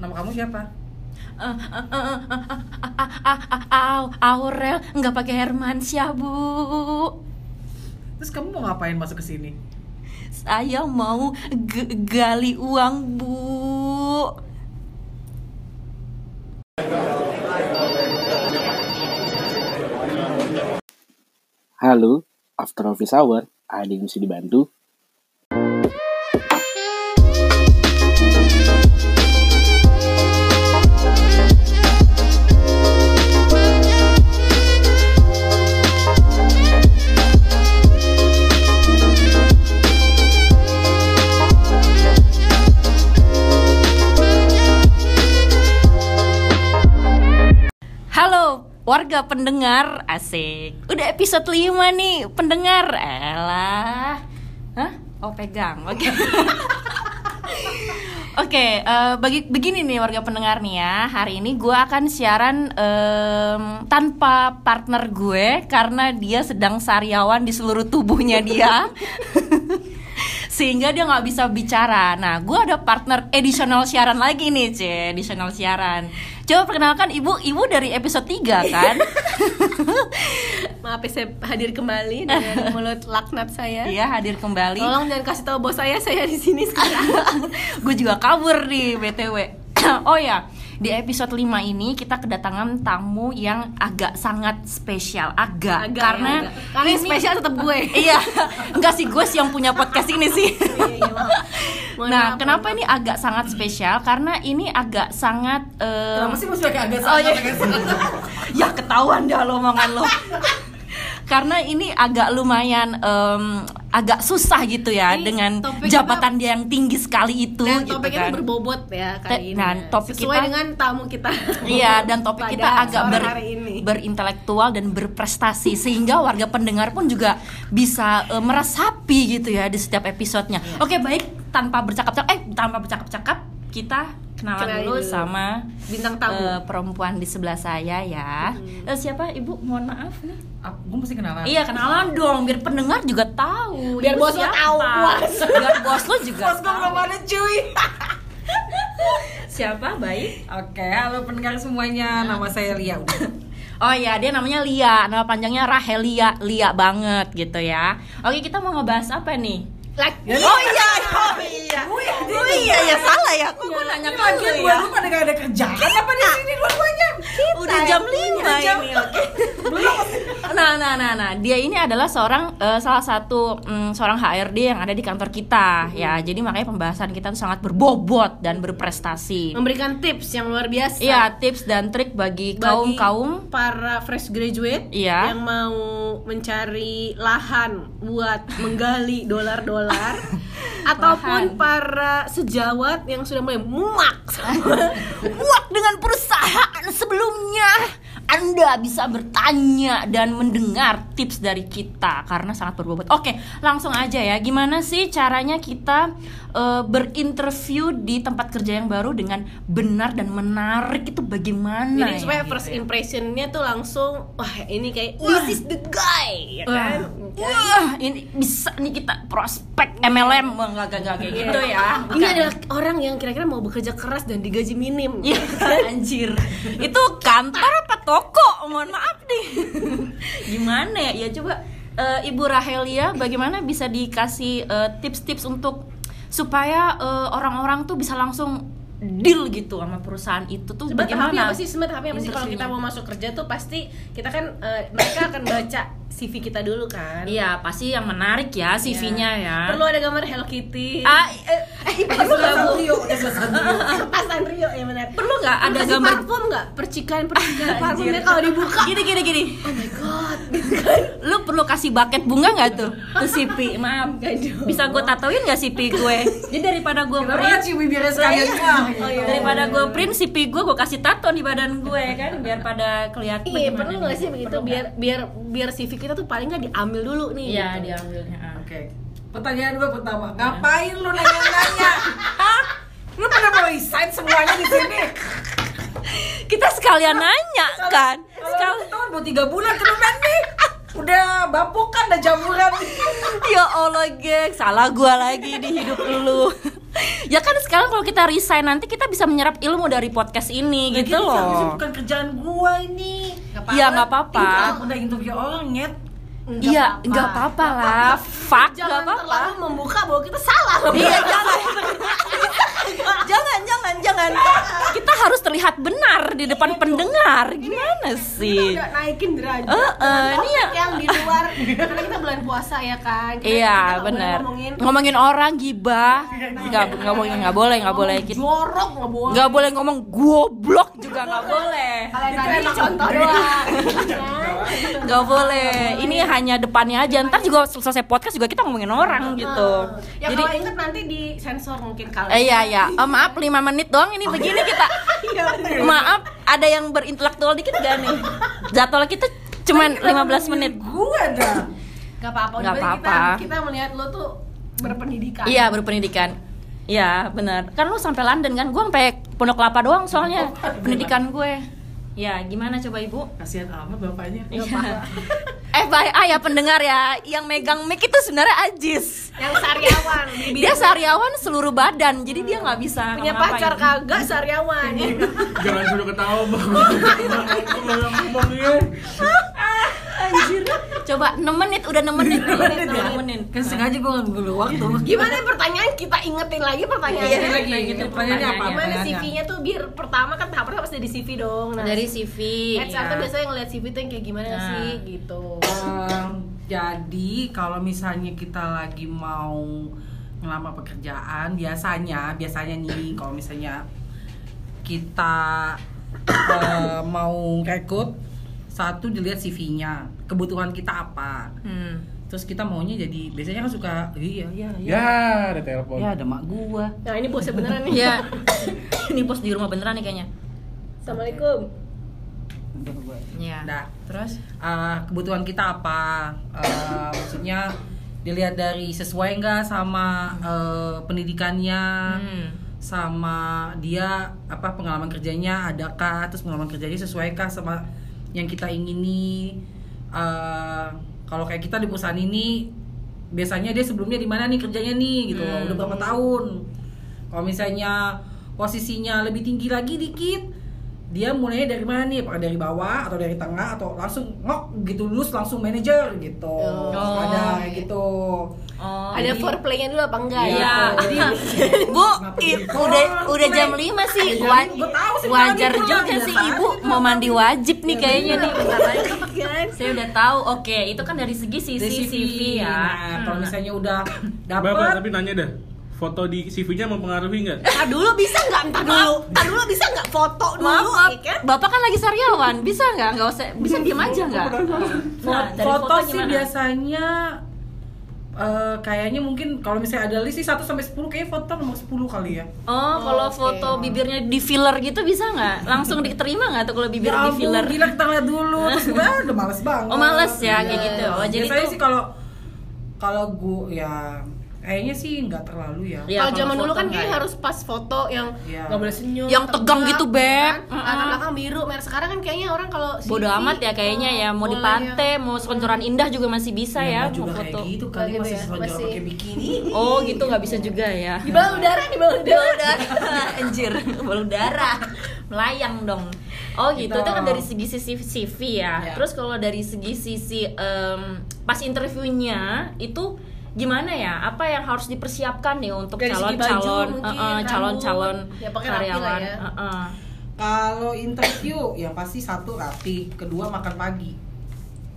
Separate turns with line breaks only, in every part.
nama kamu siapa?
Eh, eh, eh, eh, eh, eh, eh, eh, eh, Au- Aurel nggak pakai Hermansyah bu.
Terus kamu mau ngapain masuk ke sini?
Saya mau g- gali uang bu.
Halo, After Office Hour, ada yang bisa dibantu?
Halo warga pendengar asik. Udah episode 5 nih pendengar. Elah. Hah? Oh pegang. Oke. Oke, eh, bagi begini nih warga pendengar nih ya. Hari ini gue akan siaran em, tanpa partner gue karena dia sedang sariawan di seluruh tubuhnya dia. Sehingga dia nggak bisa bicara. Nah, gue ada partner additional siaran lagi nih, C, additional siaran. Coba perkenalkan ibu, ibu dari episode 3 kan?
Maaf ya, saya hadir kembali dengan mulut laknat saya.
Iya, hadir kembali.
Tolong jangan kasih tahu bos saya saya di sini sekarang.
gue juga kabur nih btw oh ya di episode 5 ini kita kedatangan tamu yang agak sangat spesial agak,
Agak,
karena
agak. Karena yang spesial tetap gue.
iya enggak sih gue sih yang punya podcast ini sih
Iya, Mohon
nah
maaf,
kenapa
mohon
ini agak sangat spesial karena ini agak sangat eh,
Kenapa sih mesti pakai agak
Oh,
sangat
iya.
agak sangat?
ya ketahuan dah lo omongan lo karena ini agak lumayan em, agak susah gitu ya
Ini
dengan
topik kita-
jabatan dia yang tinggi sekali itu
Dan
gitu
topik
kan.
itu berbobot ya
Te-
kali ini.
dan topik
Sesuai
kita-
dengan tamu kita.
Iya, dan topik
Pada
kita agak
sore
ber,
hari ini.
berintelektual dan berprestasi sehingga warga pendengar pun juga bisa eh, meresapi gitu ya di setiap episodenya.
Iya.
Oke, baik tanpa bercakap-cakap eh tanpa bercakap-cakap kita kenalan
Kenalin
dulu
dulu.
sama
Bintang tamu. Hmm.
eh, perempuan di sebelah saya ya. Eh, siapa Ibu? Mohon maaf nih.
Ah, Gue mesti kenalan.
Iya, kenalan dong biar pendengar juga tahu.
Biar
Ibu
bos lo
siapa.
tahu, puas.
Biar bos lo juga
Bos gue
tahu.
belum ada cuy.
Siapa baik?
Oke, halo pendengar semuanya. Nama saya Lia. Udah.
Oh iya, dia namanya Lia. Nama panjangnya Rahelia, Lia banget gitu ya. Oke, kita mau ngebahas apa nih?
Like.
Oh iya, oh iya. Oh iya, ya salah ya. Kok gue nanya ke
Lagian
lu
gue
ya?
lu pada gak ada kerjaan
Iya,
apa di sini dua-duanya?
Udah jam 5
jam.
ini, oke. Nah, nah, nah, nah, dia ini adalah seorang eh, salah satu mm, seorang HRD yang ada di kantor kita ya. Jadi makanya pembahasan kita tuh sangat berbobot dan berprestasi.
Memberikan tips yang luar biasa.
Iya, tips dan trik bagi
Bagi
kaum-kaum
para fresh graduate
Iya.
yang mau mencari lahan buat menggali dolar-dolar ataupun para sejawat yang sudah mulai muak sama
Buat dengan perusahaan sebelumnya Anda bisa bertanya dan mendengar tips dari kita Karena sangat berbobot Oke langsung aja ya Gimana sih caranya kita eh, berinterview di tempat kerja yang baru Dengan benar dan menarik itu bagaimana
Jadi
ya?
supaya first impressionnya tuh langsung wah ini kayak this is the guy ya kan.
Wah, ini bisa nih kita prospek MLM Wah, nggak nggak, nggak, kayak gitu ya
Iya. Ini
Bukan.
adalah orang yang kira-kira mau bekerja keras dan digaji minim.
Iya, anjir. Itu kantor apa toko? Mohon maaf nih. Gimana ya? Ya coba eh, Ibu Rahelia bagaimana bisa dikasih eh, tips-tips untuk supaya eh, orang-orang tuh bisa langsung deal gitu sama perusahaan itu tuh
Sebenarnya tahapnya
bagaimana?
apa sih? Sebenarnya tahapnya apa sih kalau kita
Interviewnya.
mau masuk kerja tuh pasti kita kan eh, mereka akan baca CV kita dulu kan.
Iya, pasti yang menarik ya CV-nya ya.
Perlu ada gambar Hello Kitty.
Ah, eh,
perlu nggak bu?
Rio, udah selesai.
Kertas Sanrio ya benar.
perlu nggak
Perlu
ada
kasih
gambar
parfum nggak? Percikan percikan
Anjir.
parfumnya kalau dibuka.
Gini gini gini. Gitu kan?
Oh my god.
Lu perlu kasih bucket bunga nggak tuh? Tuh CV, maaf.
Nggak dong.
Bisa gue tatoin nggak CV gue? Jadi daripada gue
Kenapa nggak cium bibirnya sekalian? gitu.
Oh, iya.
daripada gue print CV gue gue kasih tato di badan gue kan biar pada kelihatan
Iya,
gimana
perlu nggak
nih.
sih begitu
Perlu
biar biar biar CV kita tuh paling nggak diambil dulu
nggak?
nih.
iya
gitu.
diambilnya ah.
Oke. Pertanyaan gue pertama, ngapain lu nanya-nanya? Hah? Lu pada mau resign semuanya di sini?
kita sekalian nanya kan
Kalau
Sekal-
lu tahun mau tiga bulan kemudian nih, udah bapuk kan, udah jamuran.
ya allah geng salah gue lagi di hidup lu ya kan sekarang kalau kita resign nanti kita bisa menyerap ilmu dari podcast ini
Lagi
gitu
ini seharusnya
loh.
bukan kerjaan gua ini. Nggak
Iya nggak apa-apa.
Aku udah interview orang nyet.
Iya nggak apa-apa lah. Fuck nggak
Jangan
apa-apa.
terlalu membuka bahwa kita salah loh.
Iya jangan. jangan jangan jangan. Kita harus terlihat benar di
Iya,
depan pendengar. Gimana
Kita
sih?
udah naikin derajat.
Eh, eh,
Dengan
ini ya-
topik yang di luar karena kita bulan puasa ya kan. Kita- kita
Iya
nggak boleh
benar.
Ngomongin
Ngomongin orang gibah. Nggak nggak boleh nggak boleh nggak boleh kita.
jorok nggak boleh.
Nggak boleh ngomong goblok juga nggak boleh.
Kalau yang tadi contoh doang. Ya.
Nggak boleh. Ini hanya depannya aja. Ntar juga sel- selesai podcast juga kita ngomongin orang gitu.
Ya
Jadi
kalau inget nanti di sensor mungkin kalau.
eh, iya iya. Eh, maaf 5 menit doang ini begini kita.
Iya,
Maaf ada yang berintelektual dikit gak nih? Jadwal kita cuman 15 menit.
Gua dah.
Gak apa-apa.
Nggak
dibanding
apa-apa.
Kita, kita melihat lo tuh berpendidikan.
Iya berpendidikan. Iya benar. Kan lu sampai London kan? Gue sampai Pondok Kelapa doang soalnya pendidikan gue. Ya Oh, gimana coba ibu?
Kasihan amat bapaknya.
Iya. FYI ya pendengar ya, yang megang mic itu sebenarnya Ajis.
Yang sariawan.
Dia sariawan seluruh badan, jadi dia nggak bisa
punya
ngapa-ngapain.
pacar kagak sariawan.
Iya.
Jangan suruh ketawa bang. Kalau ngomongnya.
Anjir. Coba 6 menit udah 6 menit. 6 menit, ya?
Udah, Kan
Nah.
sengaja gua nggak ngeluh waktu.
Gimana ya, pertanyaan kita ingetin lagi pertanyaannya
Iya,
lagi.
lagi
gitu.
tuh
pertanyaannya apa?
Gimana
Pertanyaannya.
CV-nya tuh biar pertama kan tahap pertama pasti dari CV dong. Nah,
Iya. Dari CV.
HR tuh
ya.
biasanya ngeliat CV tuh yang kayak gimana
Nah.
sih gitu.
Em, Ehm, jadi kalau misalnya kita lagi mau ngelamar pekerjaan biasanya biasanya nih kalau misalnya kita eh, mau rekrut satu dilihat CV-nya kebutuhan kita apa
Hmm.
terus kita maunya jadi biasanya kan suka iya iya iya
Ya, ada telepon.
ya ada mak gua
Nah ini bosnya beneran nih.
Ya. Ini bos di rumah beneran nih kayaknya.
Assalamualaikum.
udah gua
Iya.
Dah.
Terus
Eh, kebutuhan kita apa Eh, maksudnya dilihat dari sesuai nggak sama eh, pendidikannya
Hmm.
sama dia apa pengalaman kerjanya adakah terus pengalaman kerjanya sesuaikah sama yang kita ingini Eh, kalau kayak kita di perusahaan ini biasanya dia sebelumnya di mana nih kerjanya nih gitu loh, udah berapa
Hmm.
tahun kalau misalnya posisinya lebih tinggi lagi dikit dia mulainya dari mana nih apakah dari bawah atau dari tengah atau langsung ngok gitu lulus langsung manajer gitu
Oh.
ada kayak gitu
Oh.
Ada foreplay-nya dulu apa enggak
Iya.
ya?
jadi
Bu, i- udah udah jam 5 sih. Wa-
Iya, Gua tahu sih,
wajar
tadi
juga
pulang,
sih
biasa
Ibu
aja.
mau mandi wajib
Iya,
nih kayaknya nih. bentar lagi.
Guys.
Saya udah tahu. Oke, itu kan dari segi CV,
Dari
CV ya.
Nah, kalau
Hmm.
misalnya udah
Bapak
dapat
tapi nanya dah. Foto di CV-nya mempengaruhi nggak?
Entar dulu bisa enggak? Entar dulu. Entar dulu bisa enggak foto dulu?
Maaf, maaf.
ya kan?
Bapak kan lagi sariawan, bisa nggak? Nggak usah, bisa
Iya,
diem aja nggak? Nah,
Fo-
dari
foto, sih
gimana?
biasanya eh, kayaknya mungkin kalau misalnya ada list sih 1 sampai 10 kayaknya foto nomor 10 kali ya.
Oh, kalau
Oke.
foto bibirnya di filler gitu bisa nggak? Langsung diterima nggak tuh kalau bibir di
Ya ampun,
filler?
gila kita lihat dulu terus gue ah, udah males banget.
Oh males ya
Iya.
kayak gitu. Oh jadi
biasanya
tuh.
sih kalau kalau gue ya kayaknya sih nggak terlalu ya.
Iya,
kalau zaman
foto
dulu kan
nggak
kayaknya
ya.
harus pas foto yang
Iya.
nggak boleh senyum,
Yang tegang gitu, Beb.
Kan? Latar belakang biru, merah sekarang kan kayaknya orang kalau
Bodo
selfie,
amat ya kayaknya ya mau di
boleh
pantai, mau sekoncoran indah juga masih bisa
nggak
ya, mau
juga kayak
foto.
gitu kali
Nggak
masih
gitu ya,
selalu
masih.
pakai bikini.
Oh, gitu nggak bisa juga ya.
yang- Di bawah udara, di bawah udara.
Anjir, bau darah. Melayang dong. Oh gitu,
Gitu.
itu kan dari segi sisi CV ya.
Ya.
Terus kalau dari segi sisi em, pas interviewnya itu gimana ya? Apa yang harus dipersiapkan nih untuk
Dari segi baju
calon-calon,
mungkin,
eh, eh, calon-calon
rambut. Ya, pakai rapi lah
karyawan?
ya.
Eh, eh.
Kalau interview ya pasti satu rapi, kedua makan pagi.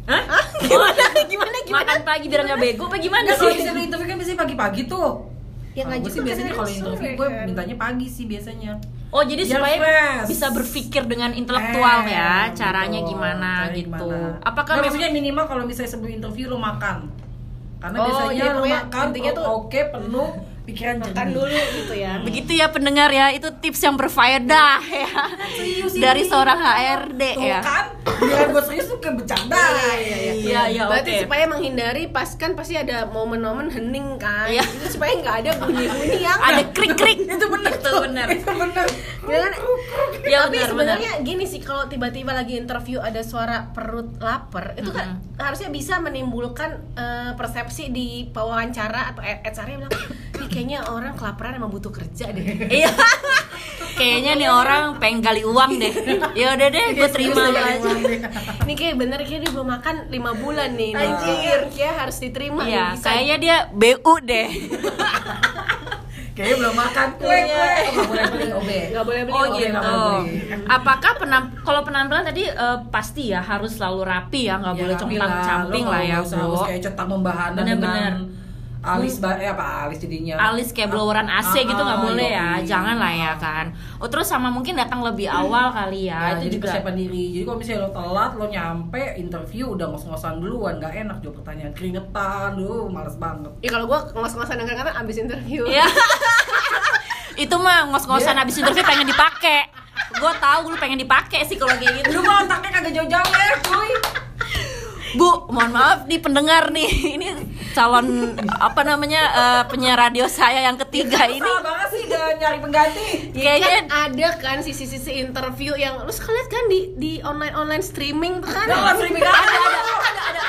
Hah? Gimana? Gimana? Gimana? Makan pagi biar nggak bego? Apa gimana
Nah, kalau
sih?
misalnya interview kan biasanya pagi-pagi tuh. Kalau
Ya ngaji
gue sih
tuh
biasanya
kadang
kalau
sore,
interview gue
kan?
mintanya pagi sih biasanya.
Oh jadi
Biar
supaya
fresh.
bisa berpikir dengan intelektual
Eh,
ya caranya
betul.
gimana
Caranya
gitu.
gimana.
Apakah
Nah,
memang-
maksudnya minimal kalau misalnya sebelum interview lo makan. Karena
Oh,
biasanya
iya,
lo
pokoknya
makan oh,
intinya tuh-
oke penuh pikiran
Makan
jernih.
dulu gitu ya.
Begitu ya pendengar ya, itu tips yang berfaedah ya
Serius
dari
ini.
seorang HRD
Tuh
ya.
kan, biar gue serius tuh kayak bercanda.
Iya, iya.
Iya iya
Berarti
oke.
supaya menghindari pas kan pasti ada momen-momen hening kan.
Iya.
Itu supaya nggak ada bunyi-bunyi yang
Ada krik-krik.
Itu iya. bener
Itu bener.
Itu bener.
Ya kan? Iya,
Iya,
tapi
benar,
sebenarnya gini sih kalau tiba-tiba lagi interview ada suara perut lapar itu kan harusnya bisa menimbulkan eh, persepsi di pewawancara atau HR-nya bilang "Ih, kayaknya orang kelaparan emang butuh kerja deh
Iya. Kayaknya nih orang pengen gali uang deh. Ya udah deh, gue terima
Terus
lo
kayak
aja.
gimana deh?
ini kayak bener kayak dia belum makan lima bulan nih anjir kayak harus
Iya,
diterima nih, bisa.
kayaknya dia BU deh.
Kayaknya belum makan
Iya,
kue kue. Nggak boleh beli obe.
nggak boleh beli
Oh
obat.
iya, nggak
gitu.
boleh.
Apakah penam kalau penampilan tadi eh, pasti ya harus selalu rapi ya, nggak
Ya,
boleh
rapi lah.
compang-camping
Lo
lah ya,
nggak usah Harus
Bu.
kayak cetak membahana
Bener-bener.
dengan alis ba eh apa alis jadinya.
alis kayak bloweran AC
Ah,
gitu nggak
ah,
boleh ya,
yoi.
jangan lah ya kan. Oh terus sama mungkin datang lebih awal kali
Ya, jadi
ya, itu juga.
persiapan diri. Jadi kalau misalnya lo telat, lo nyampe interview udah ngos-ngosan duluan, nggak enak jawab pertanyaan keringetan, lu males banget.
ya kalau gua ngos-ngosan dengan kata abis interview
Iya. itu mah ngos-ngosan
Iya.
abis interview pengen dipakai. Gue tahu lu pengen dipakai sih kalau kayak gitu.
Lu mau otaknya kagak jauh-jauh ya, cuy.
Bu, mohon maaf nih pendengar nih. Ini calon apa namanya eh, penyiar radio saya yang ketiga ini.
Salah banget sih udah nyari pengganti.
Kayaknya
kan ada kan sisi-sisi interview yang lu suka liat kan di di online online streaming tuh kan
Iya,
Udah nggak sering bikin ada ada.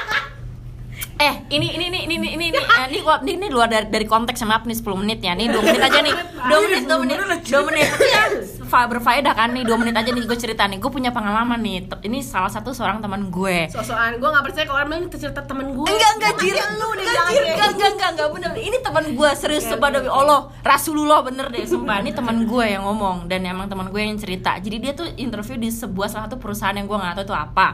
eh ini ini ini ini ini ini ini, eh, ini, gua- ini, ini luar dari, dari konteks ya, maaf nih 10 menit ya. Nih 2 menit aja nih. 2 menit 2 menit 2 menit. Iya, Fa- Berfaedah kan nih 2 menit aja nih gue cerita nih. Gue punya pengalaman nih. Te- Ini salah satu seorang teman gue.
sosokan gua nggak percaya kalau orang bilang itu cerita temen gua
Enggak enggak jir.
lu ya? deh
Enggak
jangan
jir,
kayak
enggak enggak enggak enggak bener. Ini teman gue serius sumpah demi Allah. Rasulullah bener deh sumpah. Ini teman gue yang ngomong dan emang teman gue yang cerita. Jadi dia tuh interview di sebuah salah satu perusahaan yang gue nggak tahu itu apa.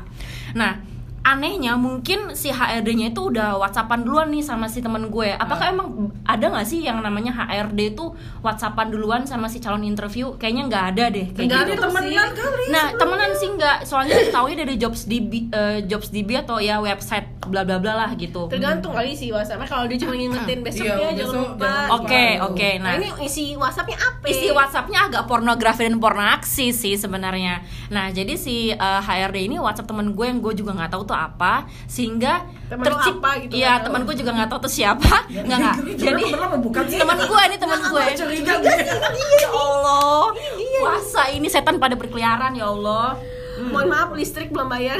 Nah, anehnya mungkin si HRD-nya itu udah WhatsAppan duluan nih sama si teman gue. Apakah emang ada nggak sih yang namanya HRD itu WhatsAppan duluan sama si calon interview? Kayaknya nggak ada deh. Kayak
Nggak
gitu.
ada
Temenan kali.
Nah, temenan sih enggak, soalnya tahu dari JobsDB eh, JobsDB atau ya website bla bla bla lah gitu.
tergantung kali sih WhatsApp kalau dia cuma ngingetin besok
Iya,
ya
besok
jangan lupa
jangan
Oke, oke.
nah
Nah,
ini isi WhatsAppnya apa
isi WhatsAppnya agak pornografi dan porno aksi sih sebenarnya. Nah, jadi si eh, HRD ini WhatsApp temen gue yang gue juga nggak tahu tuh apa, sehingga
Temen lu
tercip-
apa gitu, nggak
Iya,
tahu.
temen gue juga nggak tahu tuh siapa. Enggak enggak.
Jadi
Jadi
bener apa bukan sih?
temen gue ini temen gue.
Curiga gue.
Ya Allah. Puasa ini setan pada berkeliaran ya Allah.
mohon maaf listrik belum bayar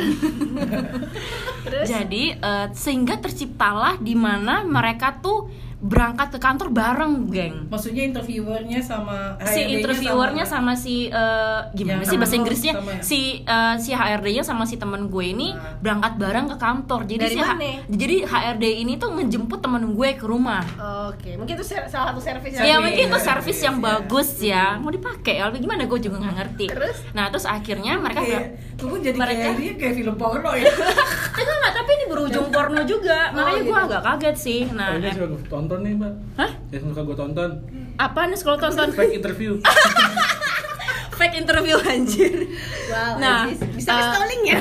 terus
Jadi eh, sehingga terciptalah di mana mereka tuh berangkat ke kantor bareng, geng.
Maksudnya interviewernya sama HRD-nya
Si interviewernya sama, si eh,
Yang
gimana sih
sama
bahasa
lo,
Inggrisnya?
sama ya?
Si eh, si HRD-nya sama si temen gue ini
Nah.
berangkat bareng ke kantor. Jadi
Dari
si H-
mana?
jadi HRD ini tuh ngejemput temen gue ke rumah.
Oke, mungkin itu ser- salah satu servis
Ya
yang-
mungkin itu
Service,
servis yang bagus ya. Mau dipakai ya, gimana gue juga nggak ngerti.
Terus?
Nah, terus akhirnya mereka
Kayak,
bilang,
kamu jadi
iya. Mereka-
kayak dia kayak film porno ya. Nah,
"Enggak, enggak, tapi ini berujung
Iya.
porno
Oh,
juga." Makanya gue agak kaget sih. Nah,
Kayaknya
eh,
suka gue tonton nih mbak Ya,
Hah?
Yang suka gue tonton
apaan nih kalau tonton
Fake interview
fake interview anjir
Wow,
Nah,
Aziz. bisa
eh,
stalling ya?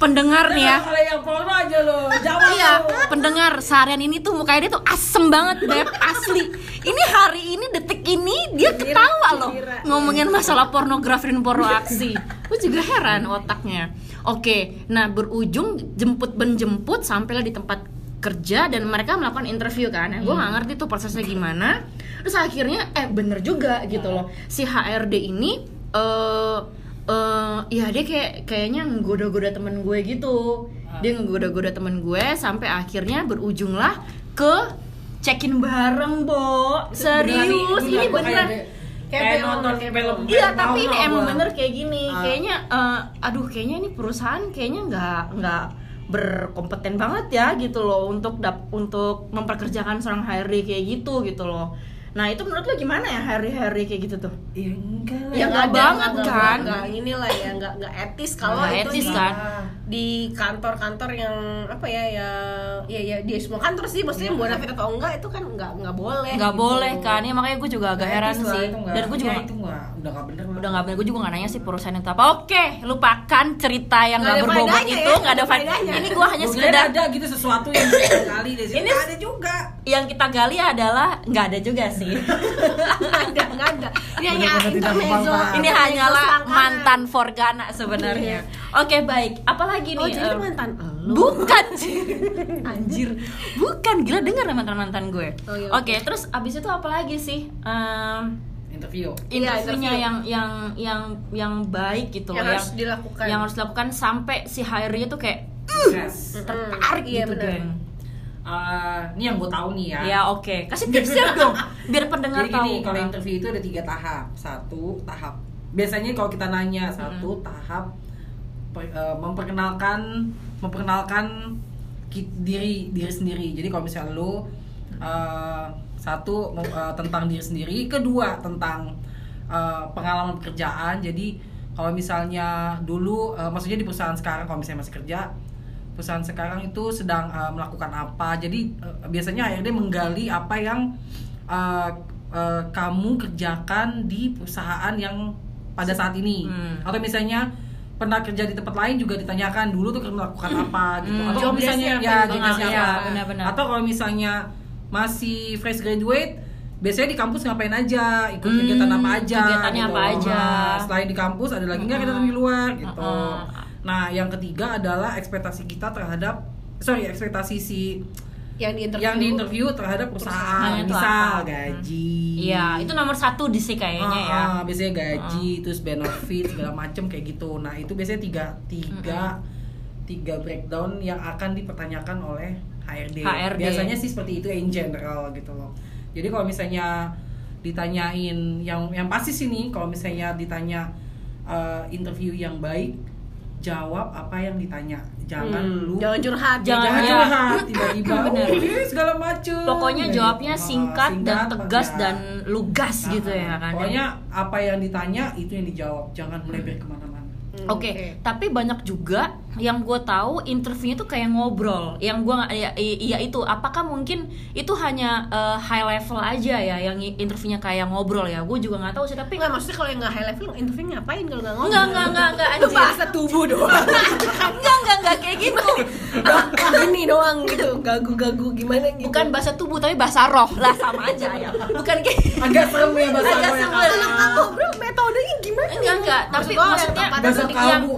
pendengar nih ya
Kalau yang porno aja lo, jawab
Iya,
lo.
pendengar seharian ini tuh mukanya dia tuh asem banget beb asli. Ini hari ini detik ini dia ketawa loh
gembira.
ngomongin masalah pornografi dan porno aksi. Gue juga heran otaknya. Oke, nah berujung jemput benjemput sampailah di tempat kerja dan mereka melakukan interview kan. Gue nggak ngerti tuh prosesnya gimana. Terus akhirnya eh bener juga gitu loh si HRD ini eh eh ya dia kayak kayaknya nggoda-goda temen gue gitu dia nggoda-goda temen gue sampai akhirnya berujunglah ke check-in bareng bo serius ini beneran
Kayak,
Kayak
nonton
film.
film.
Iya tapi ini
porno
emang
gua.
bener kayak gini
Ah.
kayaknya eh, aduh kayaknya ini perusahaan kayaknya nggak nggak berkompeten banget ya gitu loh untuk dap untuk memperkerjakan seorang HRD kayak gitu gitu loh nah itu menurut lo gimana ya HRD HRD kayak gitu tuh
Ya enggak lah.
Ya,
nggak
nggak banget
nggak-
kan?
nggak inilah ya, nggak nggak etis kalau
Nggak
itu
etis
di-
kan?
di kantor-kantor yang apa ya yang ya ya di semua kantor sih maksudnya buat nafit atau enggak itu kan nggak nggak boleh
Iya. nggak
gitu.
boleh kan ya makanya gue juga agak heran
Etis lah,
sih
Nah, itu enggak.
dan gue juga
Ya, itu enggak udah enggak bener.
udah nggak bener gue juga nggak nanya sih perusahaan itu apa oke lupakan cerita yang nggak
Nggak ada
berbobot itu
faedahnya ya,
nggak ada
nggak ada
faedahnya
faedahnya.
ini gue hanya
Gua kira
sekedar
ada gitu sesuatu yang berbeda kali deh.
Ini-
Ini ada juga.
yang kita gali adalah nggak ada juga sih
nggak ada nggak ada ini hanya
Bener-bener tidak
intermezzo
bermanfaat.
ini
intermezzo
hanyalah
selangkangan.
mantan Forgana sebenarnya oke baik apalagi nih
Iya. oh jadi
em,
itu mantan lu
bukan anjir bukan gila dengar mantan mantan gue
Oh, iya,
oke terus abis itu apalagi sih Em,
interview.
interviewnya
Iya, interview.
yang yang yang yang baik gitu
yang
loh,
harus dilakukan
yang harus dilakukan sampai si hire-nya tuh kayak
Yes.
Mm-mm.
tertarik
Iya,
gitu,
benar.
geng.
Eh, ini yang gue tahu nih ya.
Ya oke, kasih tipsnya dong biar pendengar
Jadi gini,
tahu.
kalau interview itu ada tiga tahap. Satu tahap biasanya kalau kita nanya satu tahap pe- eh, memperkenalkan memperkenalkan ki- diri diri sendiri. Jadi kalau misalnya lu
Mm.
eh, satu mem- eh, tentang diri sendiri, kedua tentang eh, pengalaman pekerjaan. Jadi kalau misalnya dulu, eh, maksudnya di perusahaan sekarang kalau misalnya masih kerja, perusahaan sekarang itu sedang eh, melakukan apa. Jadi eh, biasanya HRD menggali apa yang eh, eh, kamu kerjakan di perusahaan yang pada saat ini.
Hmm.
Atau misalnya pernah kerja di tempat lain juga ditanyakan dulu tuh melakukan apa gitu.
Hmm,
Atau kalau
job
misalnya ya
desk-nya apa
job
gitu.
desk-nya
Iya,
apa.
benar-benar.
Atau kalau misalnya masih fresh graduate Biasanya di kampus ngapain aja, ikut kegiatan
Hmm,
apa aja,
kegiatannya apa aja.
Nah, selain di kampus ada lagi nggak kegiatan di luar gitu.
Mm-mm.
Nah, yang ketiga adalah ekspektasi kita terhadap sorry ekspektasi si
yang di interview
yang di interview terhadap perusahaan,
Perusahaan itu
misal
apa?
gaji.
Iya, itu nomor satu di sih kayaknya ya.
Ah, ah, biasanya gaji, terus benefit segala macem kayak gitu. Nah itu biasanya tiga tiga tiga breakdown yang akan dipertanyakan oleh HRD.
HRD.
Biasanya sih seperti itu in general gitu loh. Jadi kalau misalnya ditanyain yang yang pasti sih nih kalau misalnya ditanya eh, interview yang baik jawab apa yang ditanya jangan
Hmm,
lu
jangan curhat
Jangan
jangan
ya.
curhat tiba-tiba
Bener.
"Oh, ini segala macem
Pokoknya
Nah,
jawabnya
gitu. Ah,
singkat, dan
singkat,
tegas
ya.
dan lugas
Nah,
gitu ya kan.
Pokoknya apa yang ditanya itu yang dijawab, jangan melebar kemana-mana.
Hmm,
Oke, tapi banyak juga yang gue tahu interviewnya tuh kayak ngobrol. Yang gue iya, iya itu. Apakah mungkin itu hanya eh, high level aja ya yang interviewnya kayak ngobrol ya? Gue juga nggak tahu sih. Tapi
Enggak, maksudnya kalau yang nggak high level interview ngapain kalau nggak ngomong?
Enggak, enggak, enggak, enggak,
Itu
anjir.
bahasa tubuh doang.
enggak enggak enggak kayak gitu.
Kayak Gini doang gitu, gagu-gagu gimana gitu.
Bukan bahasa tubuh tapi bahasa roh lah sama aja ya. Bukan kayak
Agak serem ya bahasa
Agak
gue ya.
serem.
Kalau nggak ngobrol metodenya gimana? gitu.
enggak enggak. Tapi
Maksud gua
maksudnya
Bahasa
yang Iya. tempat-
kalbu.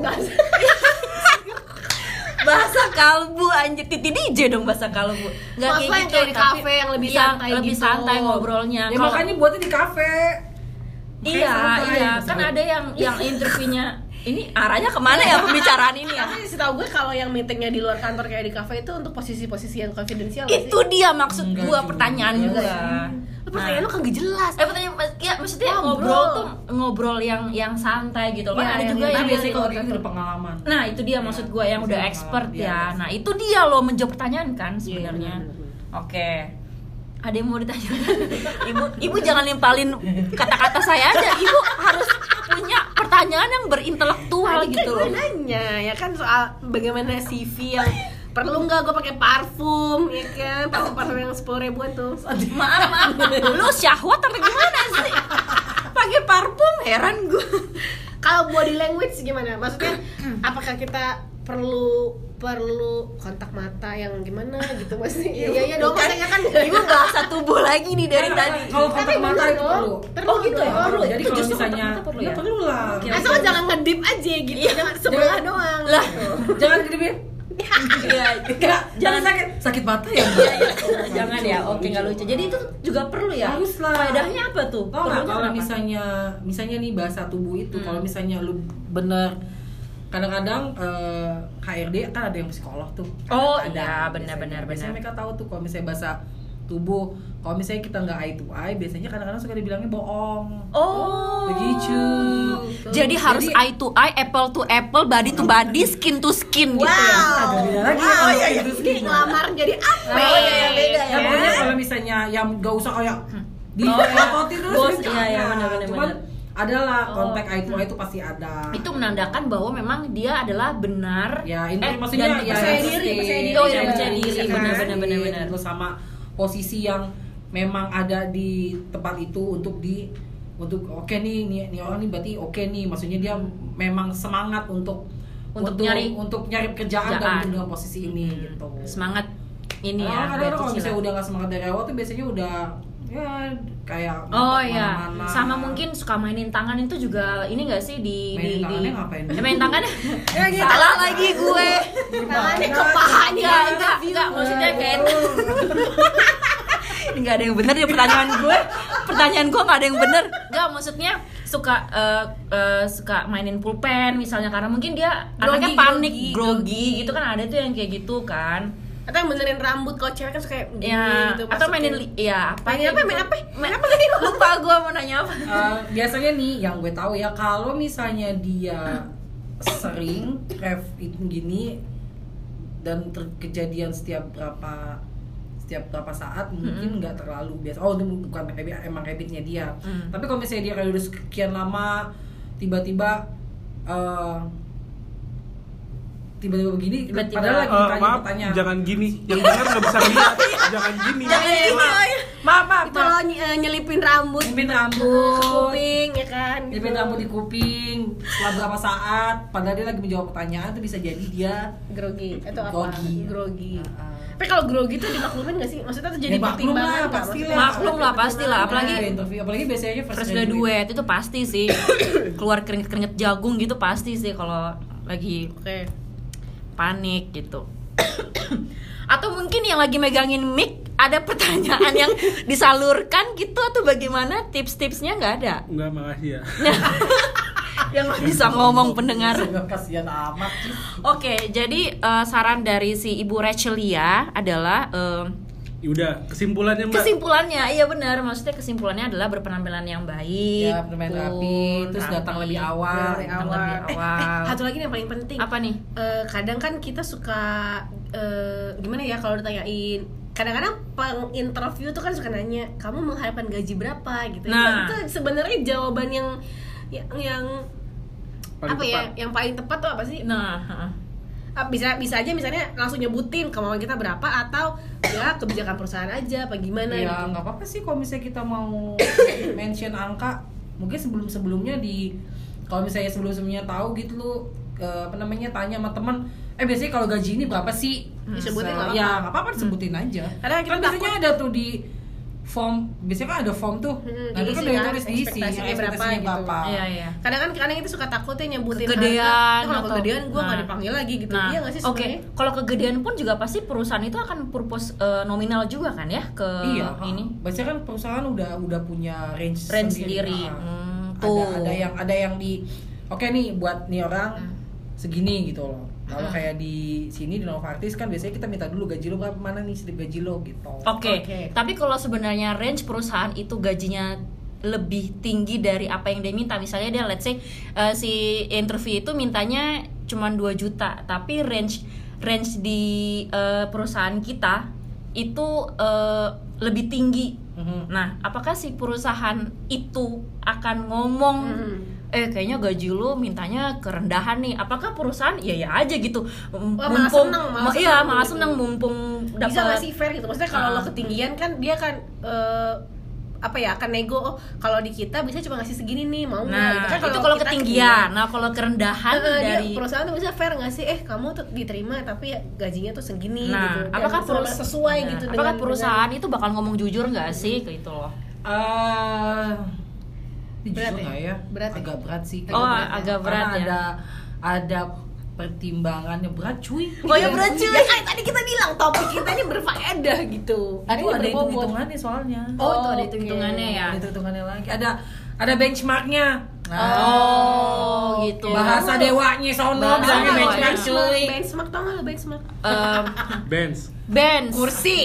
bahasa kalbu anjir titi DJ dong bahasa kalbu nggak gitu
Maksudnya yang kayak di
tapi
kafe yang lebih
iya,
santai
lebih
gitu.
santai ngobrolnya
Ya
Nah, Kalau-
makanya buatnya di kafe.
iya
santai. gitu.
iya kan ada yang yang interviewnya ini arahnya kemana ya pembicaraan ini ya
Tapi setahu gue kalau yang meetingnya di luar kantor kayak di kafe itu untuk posisi-posisi yang konfidensial nggak sih?
itu dia maksud
Enggak
gua
juga.
pertanyaan
Enggak
gua
Lu pertanyaan
Nah.
lu kagak jelas.
Eh pertanyaan mas- ya maksudnya
Ngobrol.
ngobrol tuh ngobrol yang yang santai gitu kan
Ya,
ada
yang
juga
itu.
yang
Nah, biasanya kalau
Iya.
gitu udah pengalaman.
nah itu dia maksud gua yang udah
Iya.
expert
Iya.
ya nah itu dia loh menjawab pertanyaan kan sebenarnya
Iya, benar,
oke ada yang mau ditanya ibu ibu jangan nimpalin kata-kata saya aja ibu harus punya pertanyaan yang berintelektual
Nah,
Tadi
gitu
kan gue nanya ya kan soal bagaimana CV yang perlu nggak gue pakai parfum ya kan parfum parfum yang sepuluh ribuan tuh
maaf maaf lu syahwat apa gimana sih pakai parfum heran gue
kalau body language gimana maksudnya apakah kita perlu perlu kontak mata yang gimana gitu maksudnya iya iya, iya dong maksudnya kan
ibu bahasa tubuh lagi nih
Nah,
dari tadi
Kalau kontak
tapi
mata
bener
itu
dong.
perlu.
Perlu
Oh, gitu ya?
dong.
Perlu. Jadi
Itu
kalau
justru kontak
misalnya Iya,
mata perlu ya?
perlu lah.
asal lo jangan ngedip aja gitu jangan sebelah doang Gitu.
lah
Eh, Jangan gede Beb.
iya
Enggak, jangan
jangan Iya,
sakit. Sakit mata ya. Bu?
jangan ya oke nggak lucu jadi itu juga perlu ya
Harus lah.
faedahnya apa tuh
Tau nggak
Perlunya
kalau
kenapa?
misalnya misalnya nih bahasa tubuh itu
Hmm.
kalau misalnya lu bener kadang-kadang eh, HRD kan ada yang psikolog tuh
Oh,
Ada
iya,
biasanya.
benar-benar,
biasanya
benar.
mereka tahu tuh kalau misalnya bahasa tubuh kalau misalnya kita nggak eye to eye biasanya kadang-kadang suka dibilangnya bohong
Oh.
begitu
Jadi harus eye to eye, apple to apple, body to body, skin to skin gitu ya.
ada
wow
beda lagi
wow
kalau
iya iya
itu skin.
ngelamar jadi apa
Oh, iya, iya, beda
ya pokoknya kalau misalnya yang nggak usah kayak di
Oh, iya.
ototin terus
Bos,
gitu.
iya, iya, benar-benar,
cuman
benar.
adalah kontak
Oh.
eye to eye itu pasti ada
Itu menandakan bahwa memang dia adalah benar.
ya ini
eh,
maksudnya
dan
ya
percaya
yang
diri,
sustain,
percaya diri,
yang
oh, iya, percaya
sustain,
diri,
yang
benar,
sustain,
benar, benar, benar.
terus sama posisi yang memang ada di tempat itu untuk di untuk oke nih nih nih orang nih berarti oke nih maksudnya dia memang semangat untuk
Untuk nyari-
untuk nyari pekerjaan
Kerjaan.
dan dengan posisi ini gitu
Semangat ini ya.
Karena Nah, kadang-kadang
buat
kalau misalnya
cicilan.
udah nggak semangat dari awal tuh biasanya udah ya kayak
Oh
mentok
iya,
mana-mana.
sama mungkin suka mainin tangan itu juga ini gak sih di
Mainin
di,
tangannya
di-
ngapain?
Eh, Main tangannya?
Ya, gitu.
Salah lagi gue.
tangannya ke pahanya
Enggak, enggak, enggak, maksudnya kayak Enggak ada yang benar di ya pertanyaan gue. pertanyaan gua nggak ada yang bener Gak maksudnya suka eh, eh, suka mainin pulpen misalnya karena mungkin dia anaknya
Grogi,
panik
grogi,
grogi,
grogi.
gitu kan ada tuh yang kayak gitu kan
atau yang benerin rambut kalau cewek kan suka kayak begini
ya
gitu
atau
masukin.
mainin li- ya apa
Mainin apa, main apa?
main apa tadi lupa gua mau nanya apa
Eh, biasanya nih yang gue tahu ya kalau misalnya dia sering craving gini dan terkejadian setiap berapa setiap berapa saat mungkin nggak terlalu biasa oh itu bukan habit- emang habitnya dia
Mm.
tapi kalau misalnya dia kayak udah sekian lama tiba-tiba eh, tiba-tiba begini
Tiba-tiba.
padahal lagi
Eh,
tanya
maaf,
tanya
jangan gini. Yang dengar nggak bisa lihat. Jangan gini.
maaf maaf
itu
maaf
lo ny- eh, nyelipin rambut
Nyelipin
ke
rambut
kuping ya kan
Dia pindah rambut di kuping setelah berapa saat padahal dia lagi menjawab pertanyaan tuh bisa jadi dia eh,
grogi atau apa
Grogi.
grogi
Heeh.
tapi kalau grogi tuh dimaklumin gak sih maksudnya tuh jadi
Ya, maklum
pertimbangan
lah,
nggak?
pasti
Maksudnya-
lah.
Maklum lah, pasti lah. Apalagi-
Ada interview apalagi biasanya first,
Terus
graduate.
graduate itu pasti sih keluar keringet-keringet jagung gitu pasti sih kalau lagi
oke
panik gitu atau mungkin yang lagi megangin mic ada pertanyaan yang disalurkan gitu atau bagaimana tips-tipsnya nggak ada
Enggak, makasih ya.
yang nggak bisa ngomong pendengar
Sehingga gitu. kasihan amat sih.
oke jadi eh, saran dari si ibu Rachelia adalah eh,
Ya udah, kesimpulannya Mbak.
kesimpulannya iya benar maksudnya kesimpulannya adalah berpenampilan yang baik
ya bermain rapi
pun,
terus datang
rapi.
lebih
Iya,
awal
Dari
datang
awal.
lebih
Eh,
awal.
eh, satu lagi nih yang paling penting
apa nih
Eh, kadang kan kita suka eh, gimana ya kalau ditanyain kadang-kadang penginterview tuh kan suka nanya kamu mengharapkan gaji berapa gitu
Nah.
itu sebenarnya jawaban yang yang, yang
Paling
apa
tepat.
ya yang paling tepat tuh apa sih
nah heeh.
Ah, bisa bisa aja misalnya langsung nyebutin kemauan kita berapa atau ya kebijakan perusahaan aja apa gimana
ya
gitu
nggak apa-apa sih kalau misalnya kita mau mention angka mungkin sebelum sebelumnya di kalau misalnya sebelum sebelumnya tahu gitu lu eh, apa namanya tanya sama teman eh biasanya kalau gaji ini berapa sih
Hmm. Disebutin
Se-
nggak apa-apa. Hmm.
ya nggak apa-apa disebutin aja
Karena kita
kan biasanya ada tuh di form biasanya kan ada form tuh
Hmm,
nah itu
diisi
kan dari
kan,
tulis diisi
ekspektasinya berapa
ekspektasinya
gitu.
berapa
iya iya
kadang kan kadang itu suka takutnya nyebutin
Kegedean
harga, kalau
atau-
kegedean gue nggak
Nah.
dipanggil lagi gitu
Nah,
iya nggak sih
oke.
sebenarnya
Kalau kegedean pun juga pasti perusahaan itu akan purpose eh, nominal juga kan ya ke
iya ini
ini
biasanya kan perusahaan udah udah punya range,
range sendiri.
Ah.
Hmm, tuh.
ada ada yang ada yang di oke nih buat nih orang segini gitu loh kalau kayak di sini di Novartis kan biasanya kita minta dulu gaji lo berapa mana nih slip gaji lo gitu
Oke.
Oh, Oke.
Tapi kalau sebenarnya range perusahaan itu gajinya lebih tinggi dari apa yang dia minta. Misalnya dia let's say eh, si interview itu mintanya cuma 2 juta, tapi range range di eh, perusahaan kita itu eh, lebih tinggi
Mm-hmm.
Mhm.
Nah, apakah si perusahaan itu akan ngomong
Mhm.
eh kayaknya gaji lu mintanya kerendahan nih. Apakah perusahaan ya ya aja gitu. M-
Wah, Oh, malah
mumpung-
seneng, malah
ma- iya,
seneng
malah
gitu.
seneng mumpung
bisa nggak
dapat
sih fair gitu maksudnya kalau
Ah.
lo ketinggian kan dia kan eh, apa ya akan nego oh kalau di kita bisa cuma ngasih segini nih mau nggak
Nah,
gitu kan
itu kalau
kita
ketinggian. Nah, kalau kerendahan
Eh, dia
dari
perusahaan tuh bisa fair nggak sih eh kamu tuh diterima tapi ya gajinya tuh segini
Nah,
gitu Dan
apakah
selama
perus-
sesuai
Nah,
gitu
Apakah
dengan-
perusahaan itu bakal ngomong jujur nggak sih gitu loh?
Eh, ini
Berat
jujur
ya?
nggak ya?
Berat ya?
agak berat sih
Oh,
Karena
agak berat ya.
ada ada pertimbangannya berat cuy
Oh
Iya.
ya berat cuy. Ya, kan tadi kita bilang topik kita ini berfaedah gitu.
Aduh,
Ini
ada
berbobot.
hitung hitungannya soalnya
Oh, itu ada
oke.
hitung-hitungannya ya.
ada hitung hitungannya lagi ada ada benchmarknya Nah,
Oh, gitu.
bahasa dewanya sono
Bahasa
bilangnya
dewanya.
benchmark
Benchmark,
cuy
benchmark tau nggak lo benchmark?
Em,
Benz.
Benz, kursi,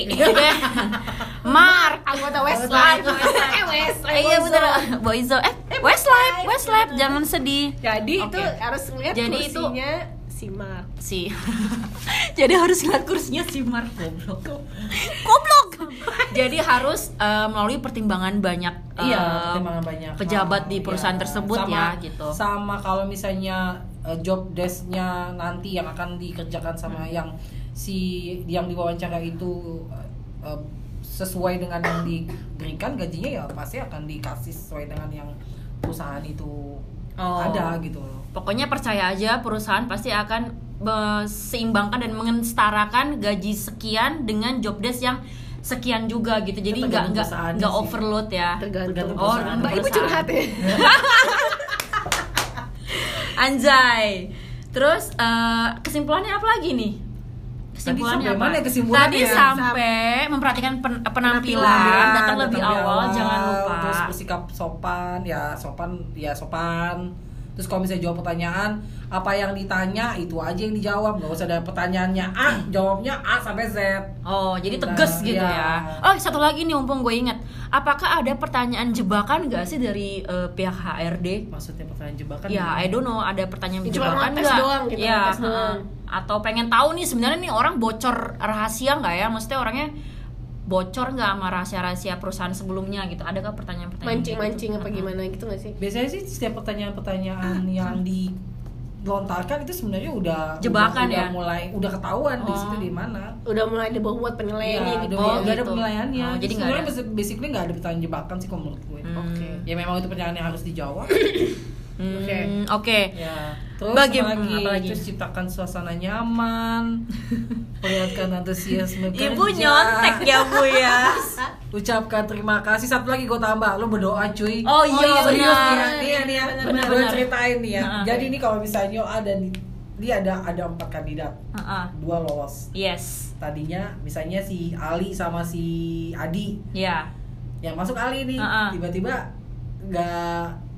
Mark,
Anggota Westlife. eh Westlife.
iya
Boyzone.
bener Boyzo eh Westlife Westlife jangan sedih
Jadi itu
Oke.
harus ngeliat
Jadi itu-
kursinya si Mark.
si jadi harus ngeliat kursinya si Mark goblok goblok jadi harus eh, melalui pertimbangan banyak eh,
Iya, pertimbangan banyak.
pejabat
hal,
di
iya.
perusahaan tersebut
Sama-
ya gitu
Sama kalau misalnya eh, job desk-nya nanti yang akan dikerjakan sama
Hmm.
yang si yang diwawancara itu eh, eh, sesuai dengan yang diberikan gajinya ya pasti akan dikasih sesuai dengan yang perusahaan itu
Oh.
ada gitu loh.
pokoknya percaya aja perusahaan pasti akan seimbangkan dan mengenstarakan gaji sekian dengan job desk yang sekian juga gitu jadi
Itu tergantung
nggak nggak
perusahaan
nggak
sih.
overload ya
Tergantung
Tergantung.
Oh,
perusahaan.
tergantung
Mbak Ibu
perusahaan.
curhat ya.
Anjay. Terus eh, kesimpulannya apa lagi nih? kesimpulannya
sampai
apa?
mana ya kesimpulannya?
Tadi sampai memperhatikan pen- eh, penampilan, datang lebih
Iya, datang
awal, jangan lupa.
terus bersikap sopan ya sopan ya sopan terus kalau misalnya jawab pertanyaan apa yang ditanya itu aja yang dijawab nggak usah ada pertanyaannya A
Hmm.
jawabnya A sampai Z
Oh, jadi
Udah,
tegas gitu
iya.
ya. Oh, satu lagi nih mumpung gue ingat. Apakah ada pertanyaan jebakan gak sih dari eh, pihak HRD?
maksudnya pertanyaan jebakan
ya, I don't know, ada pertanyaan
Cuma
jebakan
ngetes
nggak?
Kan doang gitu,
ya,
ngetes doang.
heeh. atau pengen tahu nih sebenarnya nih orang bocor rahasia nggak ya? Maksudnya orangnya bocor nggak sama rahasia-rahasia perusahaan sebelumnya gitu? Adakah pertanyaan-pertanyaan kayak gitu?
mancing-mancing apa
Heeh.
gimana gitu gak sih?
biasanya sih setiap pertanyaan-pertanyaan
Hmm.
yang dilontarkan itu sebenarnya udah
Jebakan
udah, udah
ya?
mulai udah ketahuan di
Oh.
situ di mana
Udah mulai ada bobot penilaiannya
Iya,
gitu.
udah-
Oh,
udah ada
gitu.
penilaiannya.
Oh, jadi
jadi
nggak
sebenarnya basi- basically nggak ada pertanyaan jebakan sih kalau menurut gue.
Hmm.
Oke.
Ya memang itu pertanyaan yang harus dijawab.
Hmm,
Oke.
Oke.
ya. Terus
Bagi-
apa lagi,
apa lagi?
terus ciptakan suasana nyaman. Perlihatkan antusiasme kerja.
Ibu nyontek ya bu ya.
Ucapkan terima kasih. Satu lagi gue tambah, lu berdoa cuy.
Oh iya,
serius
benar.
nih ya. Nih ya, nih ya.
Benar,
Gue
benar.
ceritain nih ya.
Nah.
Jadi ini kalau misalnya ada nih, dia ada ada empat kandidat,
Heeh.
dua lolos.
Yes.
Tadinya misalnya si Ali sama si Adi
Ya.
yang masuk Ali nih
Heeh.
tiba-tiba nggak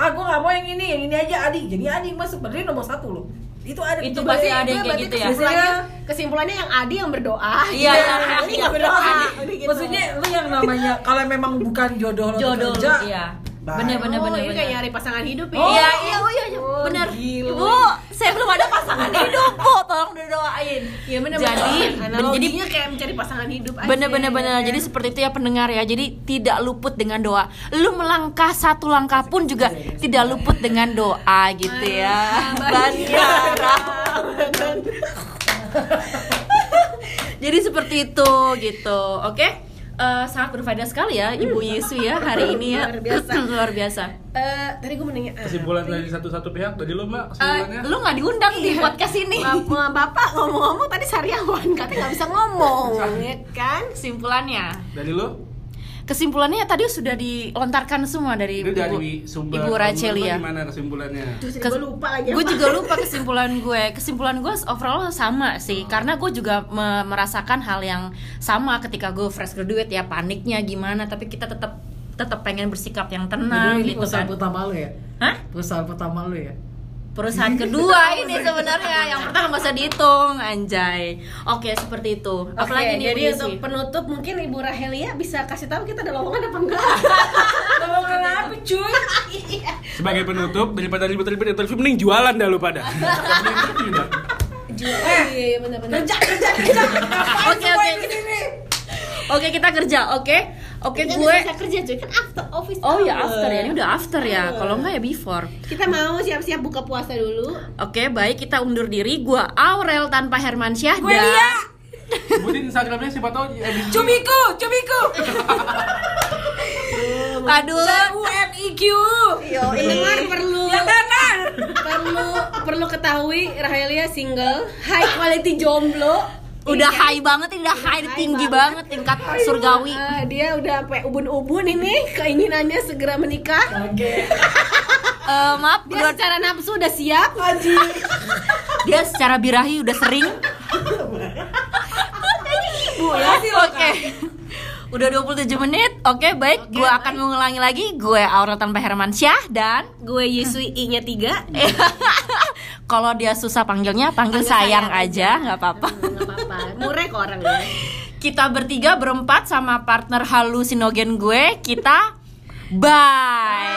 ah gue nggak mau yang ini yang ini aja Adi jadi Adi masuk padahal dia nomor satu loh itu ada
Itu
itu
pasti
Berarti-
ada yang kayak
berarti
gitu ya?
Kesimpulannya, kesimpulannya yang Adi yang berdoa.
Iya, yang Adi
Adi nggak berdoa. Udah gitu.
maksudnya lu yang namanya kalau memang bukan jodoh lo untuk
Jodoh.
kerja,
Iya.
bye.
Bener bener
Oh,
bener.
ini
bener.
kayak nyari pasangan hidup ya.
iya, iya, oh, iya, iya,
Oh,
bener.
gila.
Bu, saya belum ada pasangan hidup, Bu. Tolong didoain.
Iya benar.
Jadi, jadi
analoginya kayak mencari pasangan hidup aja. Iya.
Bener-bener bener. Jadi seperti itu ya pendengar ya. Jadi tidak luput dengan doa. Lu melangkah satu langkah pun juga tidak luput dengan doa gitu
Ah,
ya. Bandara. Jadi seperti itu gitu. Oke. Eh, sangat berfaedah sekali ya Ibu Yesu ya hari ini ya.
Hmm. Luar biasa.
Luar biasa.
Eh, tadi gue menanya ah,
Kesimpulan dari satu-satu pihak dari lo
Eh,
mbak kesimpulannya?
lu nggak diundang di
Iya.
podcast ini.
Bapak, bapak ngomong-ngomong tadi sariawan katanya nggak bisa ngomong ya kan
Kesimpulannya.
Dari lo?
Kesimpulannya tadi sudah dilontarkan semua dari
Itu
Ibu,
dari
Ibu
sumber. menurut
Rachel
lo
ya.
Gimana kesimpulannya?
terus
Kes-
gue lupa lagi
Gue
apa.
juga lupa kesimpulan gue. Kesimpulan gue overall sama sih, karena gue juga me- merasakan hal yang sama ketika gue fresh graduate ya paniknya gimana, tapi kita tetap tetap pengen bersikap
Nah,
yang tenang
ini
gitu
perusahaan
kan.
pertama lu ya
Hah?
perusahaan pertama lu ya
Perusahaan kedua ini sebenarnya yang pertama nggak usah dihitung, anjay. Oke seperti itu.
Oke,
Apalagi nih
jadi
Bu
untuk
Yusi?
penutup mungkin Ibu Rahelia bisa kasih tahu kita ada lowongan apa enggak?
kalau kenapa cuy
Sebagai penutup daripada ribet-ribet interview mending jualan dah lo pada. Mending interview dah.
Eh,
Jual. iya, iya benar-benar.
kerja kerja kerja
Oke oke. Oke kita kerja, oke. Oke
Kan
gue.
bisa kerja cuy, kan after office.
Oh ya
hour.
after ya, ini udah after ya. Kalau enggak ya before.
Kita mau siap-siap buka puasa dulu.
Oke, baik kita undur diri. Gua Aurel tanpa Hermansyah dan
Sebutin Instagramnya siapa tahu ya, abis ini-
cubiku cubiku
Aduh.
UNIQ
Yo, dengar perlu
Ya.
tenang
perlu perlu ketahui Rahelia single, high quality jomblo.
Udah high banget, ini udah high,
High
tinggi banget
banget.
tingkat surgawi.
Eh, dia udah sampai ubun-ubun ini keinginannya segera menikah.
oke
Eh, maaf,
Dia
gua-
secara nafsu udah siap.
dia secara birahi udah sering. Ibu ya. Oke. Udah 27 menit. Oke, baik. Gue akan mengulangi lagi. Gue Aurel tanpa Hermansyah dan
Gue Yusui I-nya tiga.
kalau dia susah panggilnya panggil,
Panggil
sayang,
sayang Hmm.
aja, nggak apa-apa.
Nggak apa-apa. Murek orang ya.
kita bertiga berempat sama partner halusinogen gue kita bye